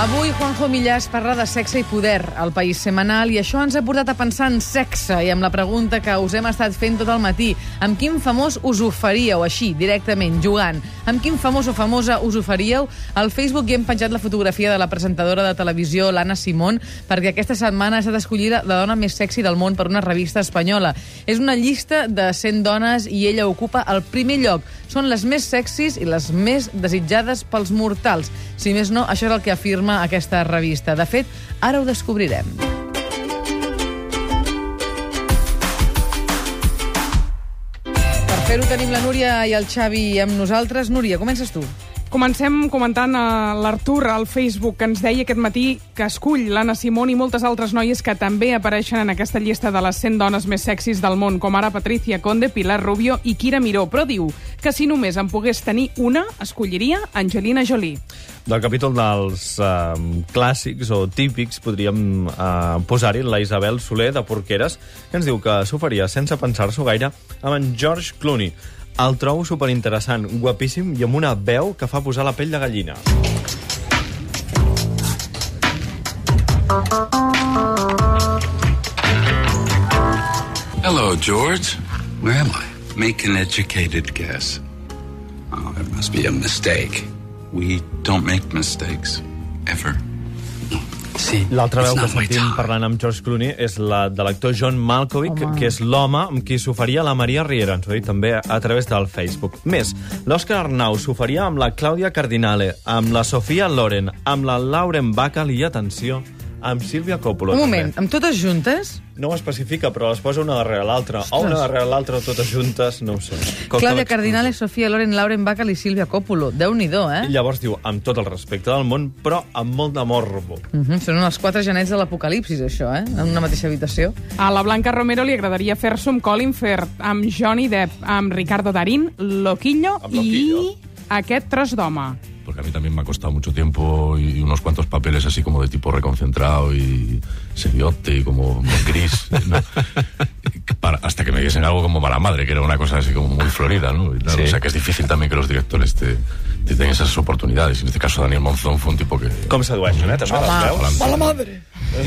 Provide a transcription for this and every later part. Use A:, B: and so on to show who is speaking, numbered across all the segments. A: Avui Juanjo Millàs parla de sexe i poder al País Semanal i això ens ha portat a pensar en sexe i amb la pregunta que us hem estat fent tot el matí. Amb quin famós us ho faríeu així, directament, jugant? Amb quin famós o famosa us ho faríeu? Al Facebook hi hem penjat la fotografia de la presentadora de televisió, l'Anna Simón, perquè aquesta setmana ha estat escollida la dona més sexy del món per una revista espanyola. És una llista de 100 dones i ella ocupa el primer lloc. Són les més sexis i les més desitjades pels mortals. Si més no, això és el que afirma aquesta revista. De fet, ara ho descobrirem. Per fer-ho tenim la Núria i el Xavi amb nosaltres. Núria, comences tu.
B: Comencem comentant a l'Artur al Facebook, que ens deia aquest matí que escull l'Anna Simón i moltes altres noies que també apareixen en aquesta llista de les 100 dones més sexis del món, com ara Patricia Conde, Pilar Rubio i Kira Miró, però diu que si només en pogués tenir una, escolliria Angelina Jolie.
C: del capítol dels eh, clàssics o típics podríem eh, posar-hi la Isabel Soler de Porqueres, que ens diu que s'ho faria sense pensar-s'ho gaire amb en George Clooney. El trobo superinteressant, guapíssim i amb una veu que fa posar la pell de gallina.
D: Hello, George. Where am I? Make an educated guess. Oh, it must be a mistake. We don't make mistakes. Ever. See,
C: L'altra
D: it's
C: veu que
D: not my
C: sentim
D: time.
C: parlant amb George Clooney és la de l'actor John Malkovich, Home. que és l'home amb qui s'oferia la Maria Riera, ens ho ha dit també a través del Facebook. Més, l'Òscar Arnau s'oferia amb la Clàudia Cardinale, amb la Sofia Loren, amb la Lauren Bacall i, atenció, amb Sílvia Coppola.
A: Un moment,
C: També.
A: amb totes juntes?
C: No ho especifica, però les posa una darrere l'altra. O
A: Ostres.
C: una darrere l'altra, totes juntes, no ho sé. Costa
A: Clàudia
C: l'explicar.
A: Cardinale, Sofia Loren, Lauren Bacall i Sílvia Coppola. Déu-n'hi-do, eh?
C: I llavors diu, amb tot el respecte del món, però amb molt de morbo.
A: Mm -hmm. Són els quatre genets de l'apocalipsis, això, eh? En una mateixa habitació.
B: A la Blanca Romero li agradaria fer-se amb Colin Firth, amb Johnny Depp, amb Ricardo Darín, Loquillo,
C: Amb Loquillo.
B: i aquest tros d'home.
E: Porque a mí también me ha costado mucho tiempo y unos cuantos papeles así como de tipo reconcentrado y seriote y como gris. ¿no? Para- hasta que me diesen algo como mala madre, que era una cosa así como muy florida, ¿no? Y claro,
C: Sí.
E: O sea que es difícil también que los directores te, te den esas oportunidades. Y En este caso Daniel Monzón fue un tipo que...
C: Com sedueixen, eh, també, les veus?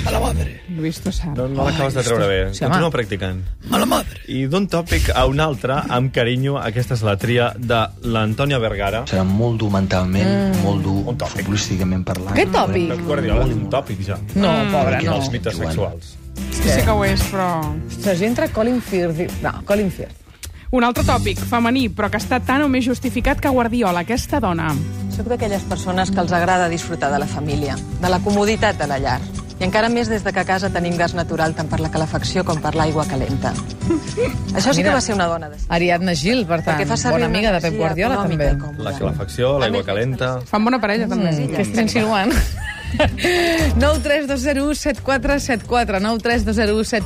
E: Mala madre.
B: Luis Tosar.
C: No, no l'acabes de treure bé.
A: Sí, home.
C: Continua practicant. Mala madre. I d'un tòpic a un altre, amb carinyo, aquesta és la tria de l'Antònia Vergara.
A: Mm.
F: Serà molt dur mentalment, mm. molt dur
C: Un tòpic.
F: futbolísticament parlant.
A: Aquest tòpic?
C: Pep Guardiola és un tòpic, ja.
A: No, pobre,
C: Aquí
A: no.
C: els mites sexuals.
B: Sí, sí que ho és, però...
A: Ostres, jo entre Colin Firth... i- No, Colin Firth.
B: Un altre tòpic, femení, però que està tan o més justificat que Guardiola, aquesta dona.
G: Soc d'aquelles persones que els agrada disfrutar de la família, de la comoditat de la llar. I encara més des de que a casa tenim gas natural tant per la calefacció com per l'aigua calenta. Això sí que
A: Mira.
G: va ser una dona de
A: Ariadna Gil, per tant,
G: perquè fa servir
A: bona
G: una
A: amiga de Pep
G: energia
A: Guardiola,
G: econòmica
A: també. Mm,
G: i còmoda.
C: La calefacció, l'aigua calenta...
B: Fan bona parella, també.
A: Què estàs insinuant? 932017474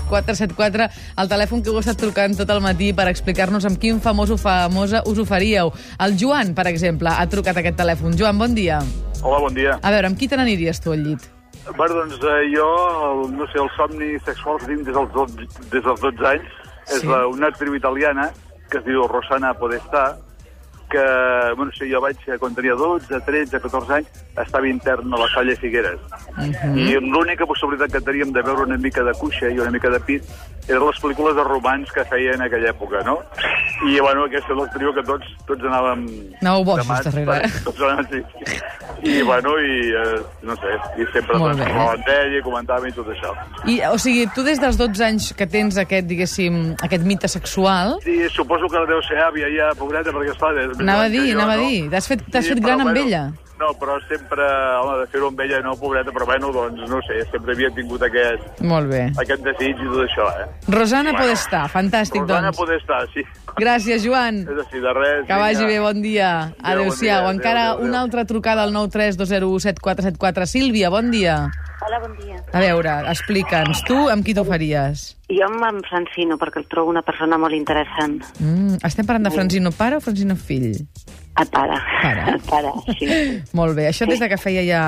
A: 932017474 el telèfon que heu estat trucant tot el matí per explicar-nos amb quin famós o famosa us ho faríeu. El Joan, per exemple, ha trucat aquest telèfon. Joan, bon dia.
H: Hola, bon dia.
A: A veure, amb qui te n'aniries tu al llit?
H: Bé, doncs eh, jo, el, no sé, el somni sexual que tinc des dels 12, des dels 12 anys és
A: Sí.
H: sí. una actriu italiana que es diu Rosana Podestà, que, bueno, sí, jo vaig, eh, quan tenia 12, 13, 14 anys, estava intern a la Salle Figueres.
A: Mhm.
H: I l'única possibilitat que teníem de veure una mica de cuixa i una mica de pit eren les pel·lícules de romans que feia en aquella època, no? I, bueno, aquesta és l'actriu que tots, tots anàvem...
A: Anàveu boixos
H: temats
A: darrere, eh?
H: per- tots anàvem, sí. I, bueno, i, eh, no sé, i sempre
A: Molt
H: doncs,
A: bé.
H: parlàvem d'ell i comentàvem i tot això.
A: I, o sigui, tu des dels 12 anys que tens aquest, diguéssim, aquest mite sexual,
H: Sí, suposo que deu ser àvia ja, pobreta, perquè esclar... és més
A: anava a
H: gran
A: dir,
H: que jo,
A: anava a
H: no?
A: dir, t'has fet, t'has
H: Sí,
A: fet
H: però,
A: gran amb
H: bueno,
A: ella.
H: No, però sempre, home, de fer-ho amb ella no, pobreta, però bueno, doncs, no sé, sempre havia tingut aquest,
A: Molt bé.
H: aquest desig i tot això, eh?
A: Rosana Podestà, fantàstic,
H: Rosana
A: doncs.
H: poder estar, sí.
A: Gràcies, Joan.
H: És així, de res.
A: Que vagi bé, bon dia.
H: Adéu, bon dia,
A: Adéu-siau.
H: adéu,
A: Encara
H: adéu, adéu.
A: una altra trucada al 932017474. Sílvia, bon dia.
I: Hola, bon dia.
A: A veure, explica'ns, tu amb qui t'ho faries?
I: Jo amb en Francino, perquè el trobo una persona molt interessant.
A: Mm, estem parlant de Francino pare o Francino fill?
I: El pare.
A: Pare.
I: El pare, sí.
A: Molt bé, això des de que feia ja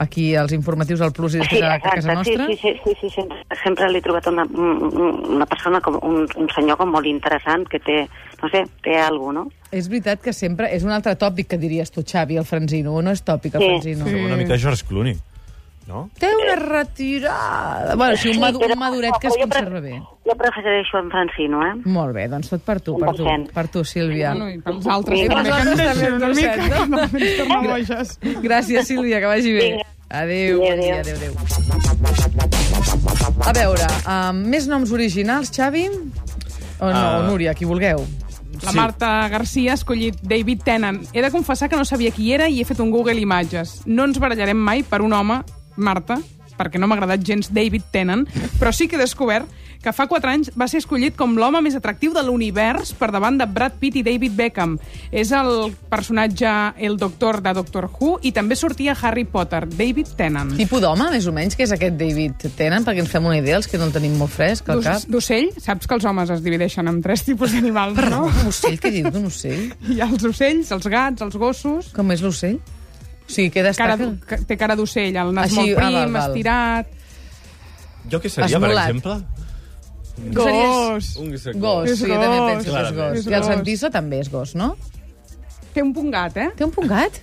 A: aquí els informatius al Plus i després a casa
I: sí,
A: nostra?
I: sí, sí, sí, sí, sempre, sempre l'he trobat una, un- una persona, com, un, un senyor com molt interessant, que té, no sé, té alguna cosa, no?
A: És veritat que sempre és un altre tòpic que diries tu, Xavi, el Francino, o no és tòpic el
I: Sí.
A: Francino?
C: Una mica George Clooney. no?
A: Té una retirada... Bueno, si un, madu
I: però-
A: un maduret que es
I: però jo pre-
A: conserva bé.
I: Jo prefereixo en Francino, eh?
A: Molt bé, doncs tot per tu, per tu,
I: 100%.
A: per tu, Sílvia.
B: Bueno, i pels altres
I: I
B: també,
I: pels
B: que ens
A: altres
B: deixen
A: també,
B: una mica,
A: no ho sé,
B: que no ens tornem boges.
A: Gràcies, Sílvia, que vagi bé.
I: Vinga.
A: Adéu, bon
I: Adéu,
A: dia, adéu,
I: adéu.
A: adéu. A veure, uh, més noms originals, Xavi? O no,
C: Ah.
A: uh... Núria, qui vulgueu.
B: La
C: Sí.
B: Marta Garcia ha escollit David Tennant. He de confessar que no sabia qui era i he fet un Google Imatges. No ens barallarem mai per un home, Marta, perquè no m'ha agradat gens David Tennant, però sí que he descobert que fa 4 anys va ser escollit com l'home més atractiu de l'univers per davant de Brad Pitt i David Beckham. És el personatge, el doctor de Doctor Who, i també sortia a Harry Potter, David Tennant.
A: Tipus d'home, més o menys, que és aquest David Tenen, perquè ens fem una idea, els que no el tenim molt fresc al
B: D'oc-
A: cap.
B: D'ocell, saps que els homes es divideixen en tres tipus d'animals, no?
A: Un ocell, què diu d'un ocell?
B: Hi ha els ocells, els gats, els gossos...
A: Com és l'ocell? O sigui, què
B: Cara,
A: destaca?
B: d'o- ca- té cara d'ocell, el nas
A: Així,
B: molt
A: ah,
B: prim,
A: val, val.
B: estirat...
C: Jo què seria, per
A: Esmolat.
C: exemple?
B: Gos!
C: Un gos.
A: Gos,
B: És
A: sí, jo també
B: gos.
A: penso que és
C: Clarament.
A: gos.
B: És
A: I el
B: gos.
A: Santiso també és gos, no?
B: Té un punt gat, eh?
A: Té un punt gat?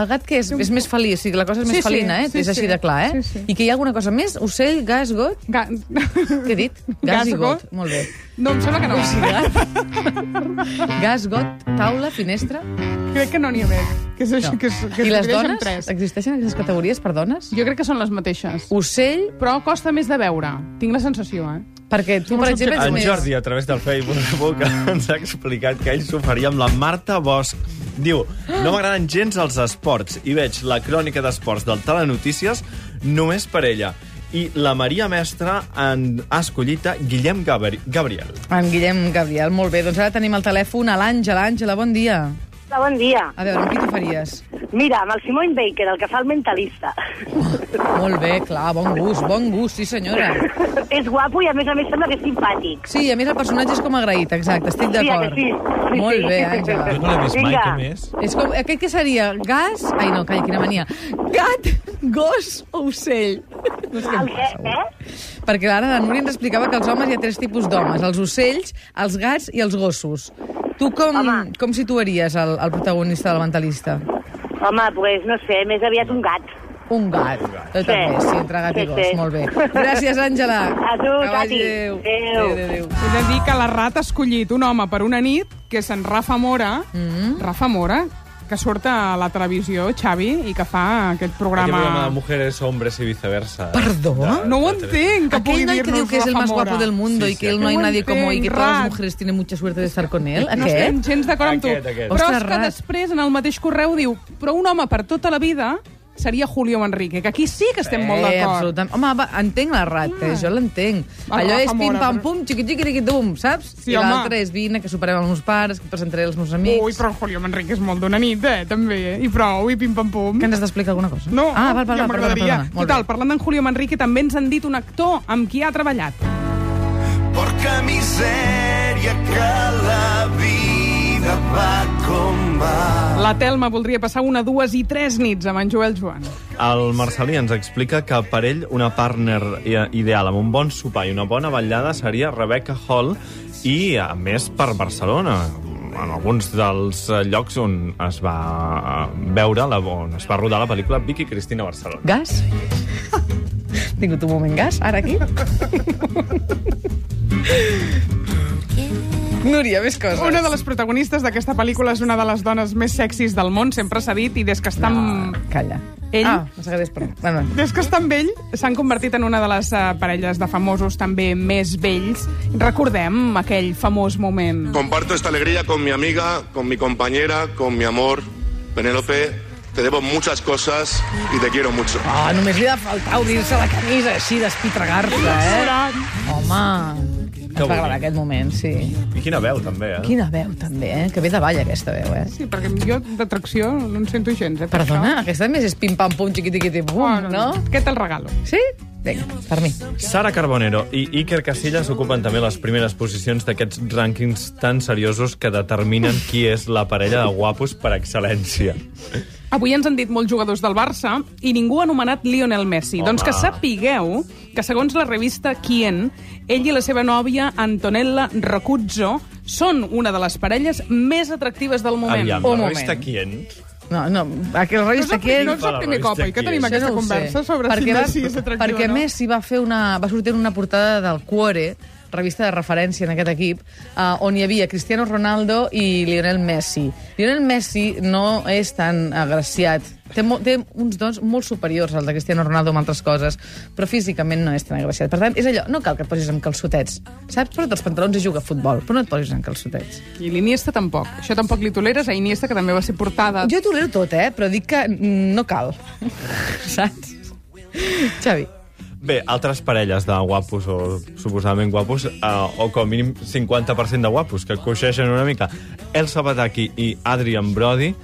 A: El gat que és, és més feliç, o sigui, la cosa és
B: Sí,
A: més
B: sí,
A: felina, eh?
B: sí,
A: és així
B: sí.
A: de clar, eh?
B: Sí, sí.
A: I que hi ha alguna cosa més? Ocell, gas, got?
B: Ga...
A: Què he dit? Gas,
B: Gas,
A: i got.
B: got.
A: Molt bé.
B: No, em sembla que no.
A: Gat. gas, got, taula, finestra.
B: Crec que no n'hi ha més. Que és això,
A: No.
B: que, és, que es
A: I les
B: divideixen
A: dones?
B: Tres.
A: Existeixen aquestes categories per dones?
B: Jo crec que són les mateixes.
A: Ocell,
B: Però costa més de veure. Tinc la sensació, eh?
A: perquè tu,
B: Som
A: per exemple, ets
C: En
A: més...
C: Jordi, a través del Facebook, ens ha explicat que ell s'ho faria amb la Marta Bosch. Diu, no m'agraden gens els esports i veig la crònica d'esports del Telenotícies només per ella. I la Maria Mestra en ha escollit a Guillem Gabri Gabriel.
A: En Guillem Gabriel, molt bé. Doncs ara tenim el telèfon a l'Àngela. Àngela, bon dia.
I: Hola, bon dia.
A: A veure, amb qui t'ho faries?
I: Mira, amb el Simone Baker, el que fa el mentalista.
A: Molt bé, clar, bon gust, bon gust, sí senyora.
I: és guapo i, a més a més, sembla que és simpàtic.
A: Sí, a més el personatge és com agraït, exacte, estic
I: Sí, a
A: d'acord.
I: que sí? Sí,
A: Molt
I: sí.
A: bé, Àngela.
C: Jo no l'he vist mai,
I: Vinga.
C: què més?
A: És com, aquest què seria? Gas? Ai, no, calla, quina mania. Gat, gos o ocell? No sé què em
I: El què,
A: passa.
I: eh?
A: Perquè l'Anna de Núria ens explicava que els homes hi ha tres tipus d'homes, els ocells, els gats i els gossos. Tu com,
I: Home.
A: com situaries el, el protagonista del mentalista?
I: Home, doncs, pues, no sé, més aviat un gat.
A: Un gat. Jo
I: Sí.
A: també, sí, entre gat i
I: Sí,
A: gos.
I: sí.
A: Molt bé. Gràcies, Àngela.
I: A tu,
A: Que vagi
I: Tati.
A: Adéu.
I: Adéu.
A: Adéu, adéu.
B: He de dir que la rata ha escollit un home per una nit, que és en Rafa Mora,
A: Mm-hmm.
B: mm. Rafa Mora, que surt a la televisió, Xavi, i que fa aquest
C: Aquest
B: programa...
C: programa de mujeres, hombres i viceversa.
A: Perdó?
B: No ho entenc, que
A: Aquell
B: pugui
A: noi que
B: dir-nos
A: diu que es el
B: Rafa
A: más guapo
B: Mora.
A: del mundo
C: Sí,
A: y
C: sí,
A: que él no hay
B: aquest.
A: nadie como y que todas las
B: Rat.
A: mujeres tienen mucha suerte de estar con él.
B: No estem
A: Aquest?
B: gens d'acord amb tu.
C: Aquest, aquest.
B: Però és
A: Ostres,
B: que
A: rat.
B: després, en el mateix correu, diu però un home per tota la vida seria Julio Manrique, que aquí sí que estem molt
A: Eh,
B: d'acord.
A: absolutament. Home, va, entenc la rata, jo l'entenc.
B: Ah. Va,
A: Allò
B: Rafa
A: és pim,
B: Mora,
A: pam,
B: però-
A: pum, xiqui, xiqui, xiqui, tum, saps?
B: Sí,
A: I
B: home.
A: l'altre és vine, que superem els meus pares, que presentaré els meus amics.
B: Ui, però Julio Manrique és molt d'una nit, eh, també. eh? I prou, i pim-pam-pum.
A: Que ens has d'explicar alguna cosa?
B: No,
A: ah, val, val, val,
B: ja
A: perdona,
B: m'agradaria.
A: perdona. Molt
B: Total,
A: bé.
B: parlant d'en Julio Manrique, també ens han dit un actor amb qui ha treballat.
J: Porca miseria que la vida va com va.
B: La Telma voldria passar una, dues i tres nits amb en Joel Joan.
C: El Marcelí ens explica que per ell una partner i- ideal amb un bon sopar i una bona ballada seria Rebecca Hall i, a més, per Barcelona en alguns dels eh, llocs on es va eh, veure, la, on es va rodar la pel·lícula Vicky Cristina Barcelona.
A: Gas? He tingut un moment gas, ara aquí. Núria, més coses.
B: Una de les protagonistes d'aquesta pel·lícula és una de les dones més sexis del món, sempre s'ha dit, i des que està amb,
A: Calla.
B: Ell-
A: Ah, no s'agrades, però... Bueno,
B: Des que estan vell, s'han convertit en una de les eh, parelles de famosos també més vells. Recordem aquell famós moment.
J: Comparto esta alegría con mi amiga, con mi compañera, con mi amor, Penélope. Te debo muchas cosas y te quiero mucho.
A: Ah, només li ha de faltar obrir-se la camisa així, despitregar-se, eh? Home, ens va agradar aquest moment, sí.
C: I quina veu, també, eh?
A: Quina veu, també, eh? Que ve de ball, aquesta veu, eh?
B: Sí, perquè jo d'atracció no en sento gens, eh? per
A: Perdona,
B: això.
A: aquesta més és pim-pam-pum,
B: Bueno,
A: xiqui-tiqui-ti-bum, no?
B: Què te'l regalo?
A: Sí? Vinga, per mi.
C: Sara Carbonero i Iker Casillas ocupen també les primeres posicions d'aquests rànquings tan seriosos que determinen qui és la parella de guapos per excel·lència.
B: Avui ens han dit molts jugadors del Barça i ningú ha anomenat Lionel Messi.
C: Home.
B: Doncs que sapigueu que, segons la revista Quien, ell i la seva nòvia Antonella Racuzzo són una de les parelles més atractives del moment.
C: Aviam,
A: Un
C: la
A: moment.
C: revista Quien
A: No, no, que el rei
B: No és
A: està
B: el primer-
A: quiet...
B: no és el primer cop, oi, que tenim aquesta
A: Això ho sé.
B: conversa sobre si Messi és atractiu
A: Perquè
B: o no?
A: Messi va, fer una, va sortir en una portada del Cuore, revista de referència en aquest equip, eh, on hi havia Cristiano Ronaldo i Lionel Messi. Lionel Messi no és tan agraciat. Té, mo té uns dons molt superiors al de Cristiano Ronaldo en altres coses, però físicament no és tan agraciat. Per tant, és allò, no cal que et posis amb calçotets. Saps? Posa't els pantalons i juga a futbol, però no et posis amb calçotets.
B: I l'Iniesta tampoc. Això tampoc li toleres a Iniesta, que també va ser portada.
A: Jo tolero tot, eh? Però dic que mm, no cal. Saps? Xavi.
C: Bé, altres parelles de guapos o suposadament guapos, eh, o com a mínim 50% de guapos, que coixeixen una mica. Elsa Bataki i Adrian Brody,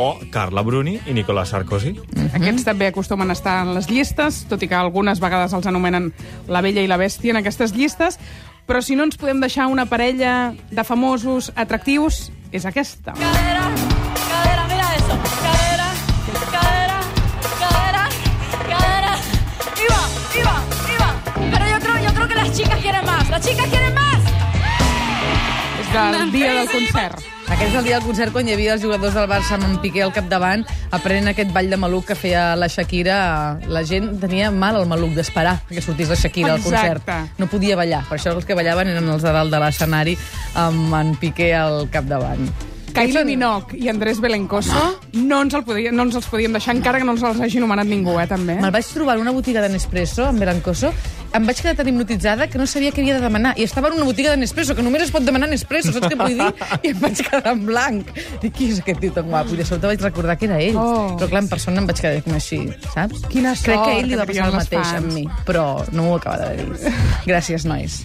C: o Carla Bruni i Nicolas Sarkozy.
B: Aquests també acostumen a estar en les llistes, tot i que algunes vegades els anomenen la vella i la bèstia en aquestes llistes. Però si no ens podem deixar una parella de famosos atractius, és aquesta.
K: Cadera, mira eso. Cadera, cadera, cadera, cadera. Iba, iba, iba. Pero yo creo, yo creo que las chicas quieren más. Las chicas quieren más.
B: És del dia del concert.
A: Aquest és el dia del concert quan hi havia els jugadors del Barça amb en Piqué al capdavant aprenent aquest ball de maluc que feia la Shakira. La gent tenia mal el maluc d'esperar que sortís la Shakira al
B: Exacte.
A: concert. No podia ballar. Per això els que ballaven eren els de dalt de l'escenari amb en Piqué al capdavant.
B: Kylie Minogue i Andrés Belencoso no ens, el podia, no ens els podíem deixar, encara que no ens els hagi nomenat ningú, eh, també.
A: Me'l vaig trobar en una botiga de Nespresso, en Belancoso, em vaig quedar tan hipnotitzada que no sabia què havia de demanar. I estava en una botiga de Nespresso, que només es pot demanar Nespresso, saps què vull dir? I em vaig quedar en blanc. Dic, qui és aquest tio tan guapo? I de sobte vaig recordar que era ell.
B: Oh.
A: Però clar, en persona em vaig quedar com així, saps?
B: Quina
A: Crec
B: sort
A: que ell li
B: que
A: va passar
B: tenien
A: el
B: les
A: mateix
B: fans.
A: amb mi, però no m'ho acaba de dir. Gràcies, nois.